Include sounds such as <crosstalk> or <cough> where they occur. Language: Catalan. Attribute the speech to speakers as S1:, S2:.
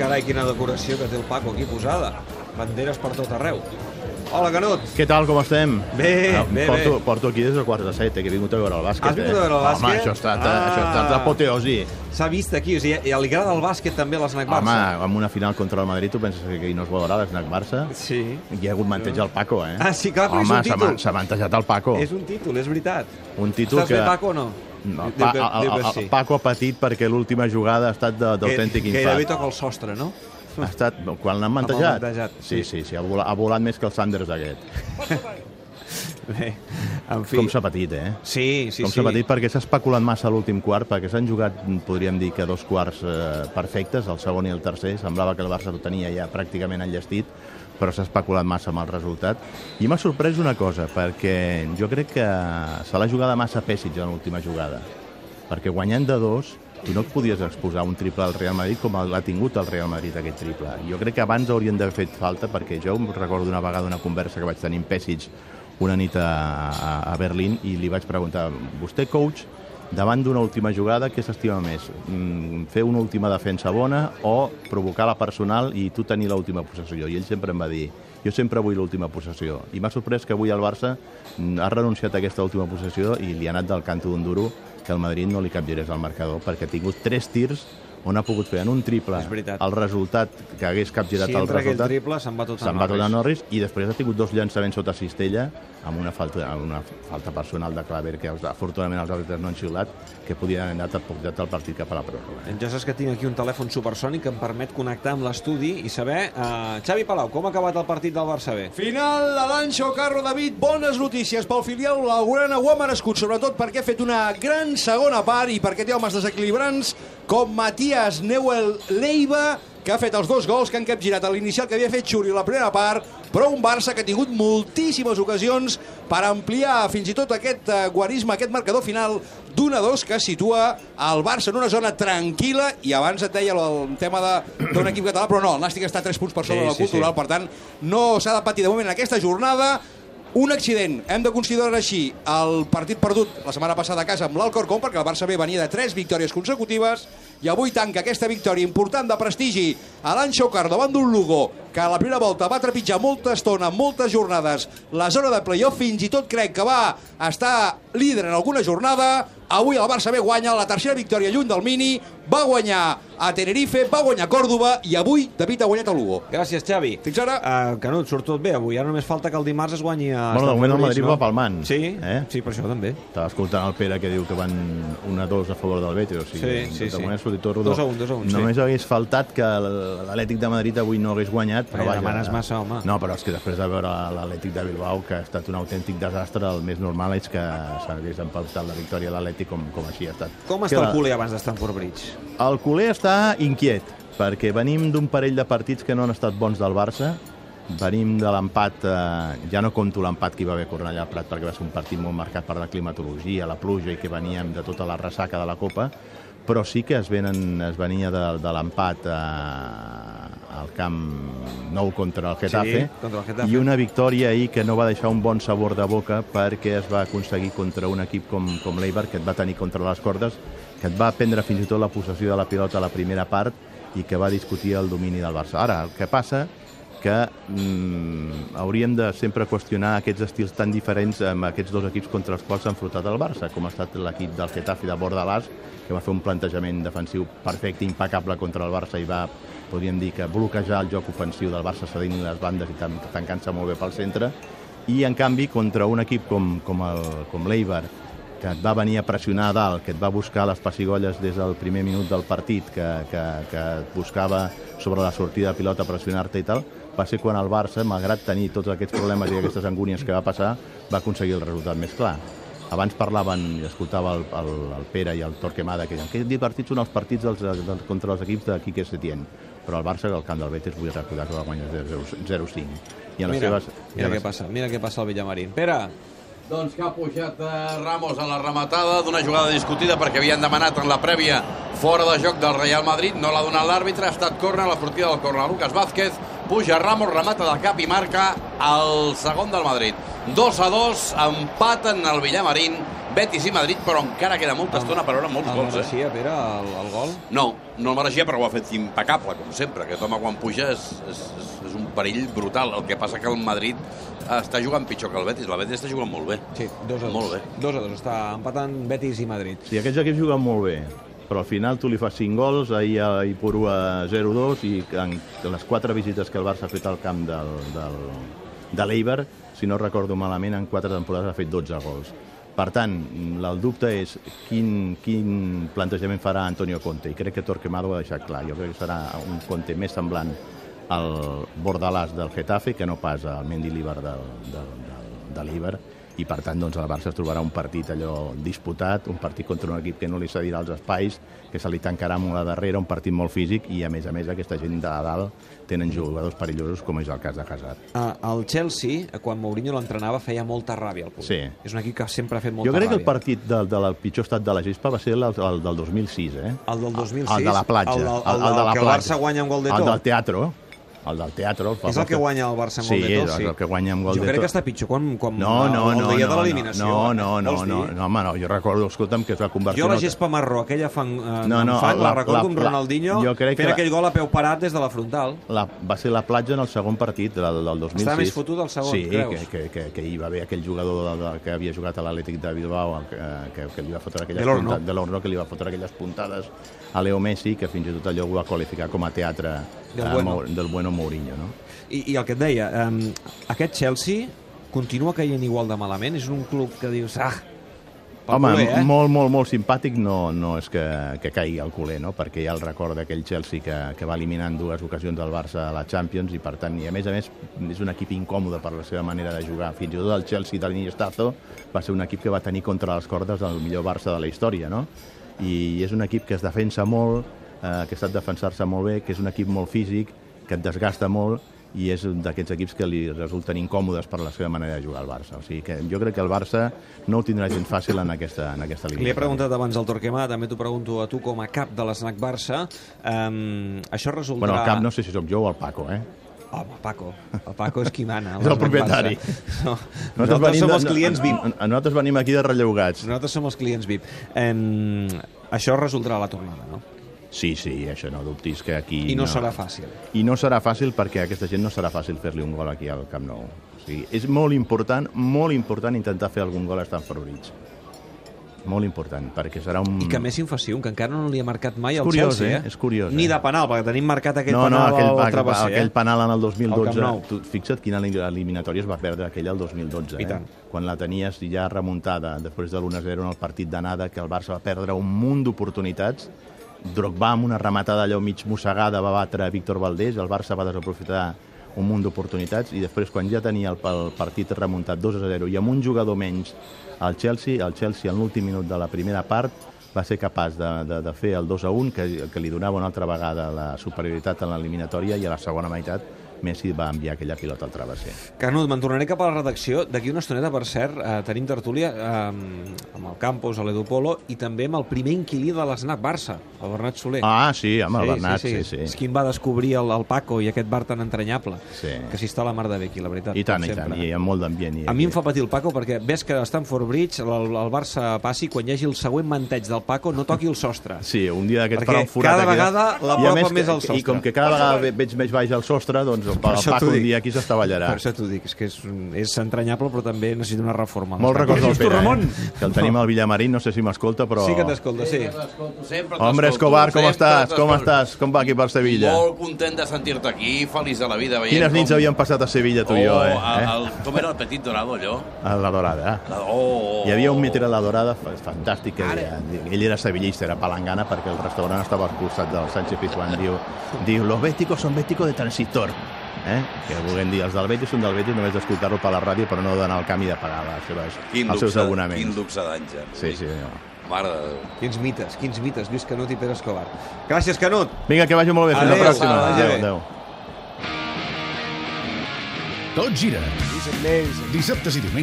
S1: Carai, quina decoració que té el Paco aquí posada. Banderes per tot arreu. Hola, Canut.
S2: Què tal, com estem?
S1: Bé, bé,
S2: porto,
S1: bé.
S2: Porto aquí des de quarts de set, eh, que he vingut a veure el bàsquet.
S1: Has vingut a veure el
S2: eh? Home,
S1: bàsquet?
S2: això ha estat,
S1: Ah.
S2: ah. això ha estat l'apoteosi.
S1: S'ha vist aquí, o sigui, i li agrada el bàsquet també a l'Snac
S2: Home,
S1: Barça.
S2: amb una final contra el Madrid, tu penses que aquí no es veurà l'Snac Barça?
S1: Sí.
S2: Hi ha hagut manteja al Paco, eh?
S1: Ah, sí, clar, però és
S2: Home,
S1: un
S2: s'ha
S1: títol.
S2: man- s'ha mantejat el Paco.
S1: És un títol, és veritat.
S2: Un títol
S1: Estàs
S2: que-
S1: bé, Paco, o no?
S2: No,
S1: Diu
S2: pa,
S1: que-
S2: el,
S1: diu
S2: el,
S1: que
S2: el
S1: sí.
S2: Paco ha patit perquè l'última jugada ha estat de- d'autèntic
S1: Que- Gairebé
S2: infart.
S1: toca el sostre, no?
S2: Ha estat, quan l'han
S1: el
S2: mantejat?
S1: mantejat,
S2: Sí, sí, sí, ha volat, ha volat més que el Sanders aquest.
S1: Bé, en fi.
S2: Com s'ha patit, eh?
S1: Sí, sí,
S2: com
S1: sí.
S2: s'ha patit perquè s'ha especulat massa a l'últim quart, perquè s'han jugat, podríem dir, que dos quarts eh, perfectes, el segon i el tercer, semblava que el Barça ho tenia ja pràcticament enllestit, però s'ha especulat massa amb el resultat. I m'ha sorprès una cosa, perquè jo crec que se l'ha jugada massa Pessic en l'última jugada, perquè guanyant de dos, tu no et podies exposar un triple al Real Madrid com l'ha tingut el Real Madrid aquest triple. Jo crec que abans haurien d'haver fet falta, perquè jo em recordo una vegada una conversa que vaig tenir amb Pessic una nit a, a, a Berlín i li vaig preguntar, vostè coach, davant d'una última jugada, què s'estima més? Mm, fer una última defensa bona o provocar la personal i tu tenir l'última possessió? I ell sempre em va dir, jo sempre vull l'última possessió. I m'ha sorprès que avui el Barça mm, ha renunciat a aquesta última possessió i li ha anat del canto d'un duro que el Madrid no li cap al marcador, perquè ha tingut tres tirs on ha pogut fer en un triple
S1: És veritat.
S2: el resultat que hagués capgirat
S1: Si
S2: el
S1: entra aquell
S2: resultat
S1: triple, se'n va tot a
S2: se'n va tot a
S1: Norris.
S2: Norris i després ha tingut dos llançaments sota cistella amb una falta, amb una falta personal de Claver que els, afortunadament els altres no han xiulat que podien haver anat apujat el partit cap a la pròrroga
S1: Ja saps que tinc aquí un telèfon supersònic que em permet connectar amb l'estudi i saber... Uh, Xavi Palau, com ha acabat el partit del Barça B?
S3: Final de l'Anxo Carro David. Bones notícies pel filial Laurana. Ho ha merescut, sobretot perquè ha fet una gran segona part i perquè té homes desequilibrants com Matías Neuel Leiva, que ha fet els dos gols que han capgirat a l'inicial que havia fet Xuri a la primera part, però un Barça que ha tingut moltíssimes ocasions per ampliar fins i tot aquest eh, guarisme, aquest marcador final d'un a dos que situa el Barça en una zona tranquil·la i abans et deia lo- el tema de- d'un equip català, però no, el Nàstic està a 3 punts per
S1: Sí,
S3: sobre sí, de la
S1: sí, sí.
S3: cultural, per tant, no s'ha de patir de moment en aquesta jornada. Un accident, hem de considerar així el partit perdut la setmana passada a casa amb l'Alcorcón, perquè el Barça B venia de 3 victòries consecutives, i avui tanca aquesta victòria important de prestigi a l'Anxocar davant d'un Lugo, que a la primera volta va trepitjar molta estona, moltes jornades, la zona de playoff, fins i tot crec que va estar líder en alguna jornada, avui el Barça B guanya la tercera victòria lluny del mini, va guanyar a Tenerife, va guanyar a Còrdoba, i avui David ha guanyat a Lugo.
S1: Gràcies, Xavi.
S3: Fins ara.
S1: Uh, Canut, surt tot bé avui. Ara només falta que el dimarts es guanyi eh, a...
S2: Bueno, de
S1: Estats
S2: moment el
S1: Units,
S2: Madrid
S1: no?
S2: va palmant,
S1: Sí, eh?
S2: eh?
S1: sí, per això també.
S2: Estava escoltant el Pere que diu que van 1-2 a favor del Betis, o sigui,
S1: Sí, sí,
S2: de
S1: sí.
S2: moment ha sortit tot rodó.
S1: Dos a un, dos a un, sí.
S2: Només hagués faltat que l'Atlètic de Madrid avui no hagués guanyat, però
S1: Ai,
S2: vaja...
S1: demanes massa, home.
S2: No, però és que després de veure l'Atlètic de Bilbao, que ha estat un autèntic desastre, el més normal és que s'hagués empaltat la victòria a l'Atlètic com, com així ha estat.
S1: Com està
S2: Queda-
S1: el culer abans d'Stanford Bridge?
S2: el culer està inquiet, perquè venim d'un parell de partits que no han estat bons del Barça, venim de l'empat, eh, ja no compto l'empat que hi va haver a Cornellà al Prat, perquè va ser un partit molt marcat per la climatologia, la pluja i que veníem de tota la ressaca de la Copa, però sí que es, venen, es venia de, de l'empat eh, al camp nou contra el Getafe,
S1: contra el Getafe.
S2: i una victòria ahir que no va deixar un bon sabor de boca perquè es va aconseguir contra un equip com, com l'Eibar, que et va tenir contra les cordes, que et va prendre fins i tot la possessió de la pilota a la primera part i que va discutir el domini del Barça. Ara, el que passa que mm, hauríem de sempre qüestionar aquests estils tan diferents amb aquests dos equips contra els quals s'ha enfrontat el Barça, com ha estat l'equip del Getafe de Bordalàs, que va fer un plantejament defensiu perfecte, impecable contra el Barça i va podríem dir que bloquejar el joc ofensiu del Barça cedint les bandes i tan- tancant-se molt bé pel centre i en canvi contra un equip com, com el- com l'Eibar que et va venir a pressionar a dalt, que et va buscar les pessigolles des del primer minut del partit, que, que, que et buscava sobre la sortida de pilota pressionar-te i tal, va ser quan el Barça, malgrat tenir tots aquests problemes i aquestes angúnies que va passar, va aconseguir el resultat més clar. Abans parlaven i escoltava el, el, el Pere i el Torquemada que deien que divertits són els partits dels, dels, contra els equips de Quique Setién. Però el Barça, al camp del Betis, vull recordar que va guanyar 0-5. I en les
S1: Mira,
S2: seves... i en
S1: mira
S2: les-
S1: què passa, mira què passa al Villamarín. Pere,
S4: Doncs que ha pujat eh, Ramos a la rematada d'una jugada discutida perquè havien demanat en la prèvia fora de joc del Real Madrid. No l'ha donat l'àrbitre, ha estat corna a la sortida del corna. Lucas Vázquez puja Ramos, remata de cap i marca el segon del Madrid. 2 a 2, empaten el Villamarín Betis i Madrid, però encara queda molta estona per veure molts
S1: El
S4: gols. Eh?
S1: mereixia, Pere, el, el gol.
S4: No, no el mereixia, però ho ha fet impecable, com sempre. Aquest home, quan puja, és, és, és, és un perill brutal. El que passa que el Madrid està jugant pitjor que el Betis. La Betis està jugant molt bé.
S1: Sí, dos a dos.
S4: Molt bé.
S1: Dos a dos. Està empatant Betis i Madrid.
S2: Sí, aquests equips juguen molt bé, però al final tu li fas 5 gols, ahir a Ipurua 0-2 i en les 4 visites que el Barça ha fet al camp del, del, de l'Eibar, si no recordo malament, en 4 temporades ha fet 12 gols. Per tant, el dubte és quin, quin plantejament farà Antonio Conte, i crec que Torquemado ho ha deixat clar. Jo crec que serà un Conte més semblant al Bordalàs del Getafe que no pas al Mendy Líber del, del, del, de l'Iber i per tant doncs, el Barça es trobarà un partit allò disputat, un partit contra un equip que no li cedirà els espais, que se li tancarà molt a darrere, un partit molt físic i a més a més aquesta gent de dalt tenen jugadors perillosos com és el cas de Hazard.
S1: Ah, el Chelsea, quan Mourinho l'entrenava, feia molta ràbia al públic.
S2: Sí.
S1: És un equip que sempre ha fet molta
S2: jo crec que el
S1: ràbia.
S2: partit de, de la pitjor estat de la gespa va ser el, el del 2006, eh?
S1: El del 2006.
S2: El de la platja.
S1: El, del- el, el,
S2: de la
S1: que el
S2: platja.
S1: Barça guanya amb gol de
S2: El
S1: tot.
S2: del teatre. El del teatre. El
S1: És el que guanya el Barça amb
S2: sí,
S1: gol de tot.
S2: Sí, és el que guanya amb gol
S1: jo
S2: de tot.
S1: crec que està pitjor quan, quan
S2: No, no,
S1: el, el
S2: no,
S1: dia
S2: no,
S1: de
S2: no,
S1: l'eliminació. eh?
S2: no, no, no,
S1: Vols
S2: no,
S1: dir?
S2: no, home, no, jo recordo, escolta'm, que es va convertir...
S1: Jo la
S2: en el-
S1: gespa marró, aquella fan, eh,
S2: No,
S1: no,
S2: no,
S1: no, fan, la,
S2: la-
S1: recordo
S2: la-
S1: amb
S2: la-
S1: Ronaldinho
S2: jo crec que
S1: fent
S2: la-
S1: aquell gol a peu parat des de la frontal.
S2: La, va ser la platja en el segon partit del, del 2006.
S1: Estava més fotut el segon,
S2: sí,
S1: creus?
S2: Sí, que, que, que, que hi va haver aquell jugador de, de, que havia jugat a l'Atlètic de Bilbao, el, que, eh, que, que li va fotre aquelles
S1: De l'Orno.
S2: punta- de l'Orno, que li va fotre aquelles puntades a Leo Messi, que fins i tot allò ho va qualificar com a teatre
S1: Del
S2: eh,
S1: bueno.
S2: Mou- del bueno Mourinho, no?
S1: I, I el que et deia, eh, aquest Chelsea continua caient igual de malament. És un club que dius, ah, pel
S2: Home,
S1: culer, eh?
S2: molt, molt, molt simpàtic no, no és que, que caigui al culer, no? perquè hi ha el record d'aquell Chelsea que, que va eliminar en dues ocasions el Barça a la Champions i, per tant, i a més a més, és un equip incòmode per la seva manera de jugar. Fins i tot el Chelsea de l'Iniestazo va ser un equip que va tenir contra les cordes el millor Barça de la història, no? I és un equip que es defensa molt, eh, que sap defensar-se molt bé, que és un equip molt físic, que et desgasta molt i és un d'aquests equips que li resulten incòmodes per la seva manera de jugar al Barça. O sigui que jo crec que el Barça no ho tindrà gens fàcil en aquesta, en aquesta línia.
S1: Li he preguntat abans al Torquemà, també t'ho pregunto a tu com a cap de l'Snac Barça. Um, això resultarà...
S2: Bueno, al cap no sé si sóc jo o el Paco, eh?
S1: Home, Paco. El Paco és qui mana. a
S2: <laughs> És el
S1: l'Snac
S2: propietari.
S1: Barça. <laughs> No, nosaltres,
S2: venim
S1: som
S2: de-
S1: els clients VIP.
S2: no- Nosaltres venim aquí de relleugats.
S1: Nosaltres som els clients VIP. Um, això resultarà a la tornada, no?
S2: Sí, sí, això no dubtis que aquí...
S1: I no, serà fàcil.
S2: I no serà fàcil perquè a aquesta gent no serà fàcil fer-li un gol aquí al Camp Nou. O sigui, és molt important, molt important intentar fer algun gol a Stamford Bridge. Molt important, perquè serà un...
S1: I que Messi en faci un, que encara no li ha marcat mai
S2: Mm. És
S1: al
S2: curiós,
S1: Chelsea.
S2: eh? És curiós,
S1: Ni
S2: eh?
S1: de penal, perquè tenim marcat aquell
S2: no, no,
S1: penal
S2: aquell,
S1: al
S2: aquell,
S1: travesser. eh?
S2: aquell penal en el 2012.
S1: Al Camp Nou.
S2: tu, fixa't quina eliminatòria es va perdre aquella el 2012.
S1: I tant.
S2: Eh? Quan la tenies ja remuntada després de l'1-0 en el partit d'anada, que el Barça va perdre un munt d'oportunitats. Drogba amb una rematada allò mig mossegada va batre Víctor Valdés, el Barça va desaprofitar un munt d'oportunitats i després quan ja tenia el, el partit remuntat 2 a 0 i amb un jugador menys al Chelsea, el Chelsea en l'últim minut de la primera part va ser capaç de, de, de fer el 2 a 1, que, que li donava una altra vegada la superioritat en l'eliminatòria i a la segona meitat Messi va enviar aquella pilota al travesser.
S1: Canut, me'n tornaré cap a la redacció. D'aquí una estoneta, per cert, eh, tenim tertúlia eh, amb el Campos, a l'Edu Polo i també amb el primer inquilí de l'Snac Barça, el Bernat Soler.
S2: Ah, sí, amb el Bernat, sí, sí.
S1: És qui em va descobrir el, el Paco i aquest bar tan entranyable,
S2: Sí.
S1: que s'hi està la mar de bé aquí, la veritat.
S2: I tant,
S1: com
S2: i tant,
S1: sempre.
S2: i amb molt d'ambient. i-
S1: A mi em fa patir el Paco perquè ves que a Stamford Bridge el, el Barça passi quan hi hagi el següent manteig del Paco no toqui el sostre.
S2: Sí, un dia d'aquests
S1: Perquè
S2: farà un forat.
S1: cada
S2: aquí.
S1: vegada
S2: I a
S1: l'apropa
S2: que-
S1: més al
S2: I
S1: sostre.
S2: com que cada vegada ve- veig més baix al sostre, doncs el, el
S1: això t'ho
S2: Paco un
S1: dic.
S2: dia aquí s'estavellarà.
S1: Per això t'ho dic, és que és, un- és entranyable però també necessita una reforma.
S2: Molt records del
S1: Justo,
S2: Pere,
S1: Ramon!
S2: eh? que el tenim al Villamarín, no sé si m'escolta, però...
S1: Sí que t'escolta, sí.
S4: T'escolto sempre,
S2: Hombre,
S4: t'escolto
S2: Escobar, com
S4: sempre,
S2: estàs? Com
S4: t'escolto.
S2: estàs? Com va aquí per Sevilla?
S4: Molt content de sentir-te aquí, feliç de la vida. Veient
S2: Quines nits
S4: com...
S2: havíem passat a Sevilla, tu i jo, eh?
S4: Oh, el,
S2: Eh?
S4: el, com era el petit dorado, allò?
S2: A la Dorada.
S4: La- Oh, oh.
S2: Hi havia un metre a la Dorada fa- fantàstic, que ell era sevillista, era palangana, perquè el restaurant estava expulsat del Sánchez Pizjuán. Diu, diu, los béticos son béticos de transitor. Eh? Que vulguem dir, els del Betis són del Betis només d'escoltar-lo per la ràdio, però no d'anar al camp i de pagar les seves,
S4: Quin
S2: els seus
S4: luxe,
S2: abonaments.
S4: quin luxe d'Àngel.
S2: Sí, sí, senyor.
S4: Mare de Déu.
S1: Quins mites, quins mites, Lluís Canut i Pere Escobar. Gràcies, Canut!
S2: Vinga, que vagi molt bé. Fins
S1: Adéu,
S2: la pròxima.
S1: que vagi bé.
S2: adéu.
S5: Tot gira. Dissabtes i diumenges.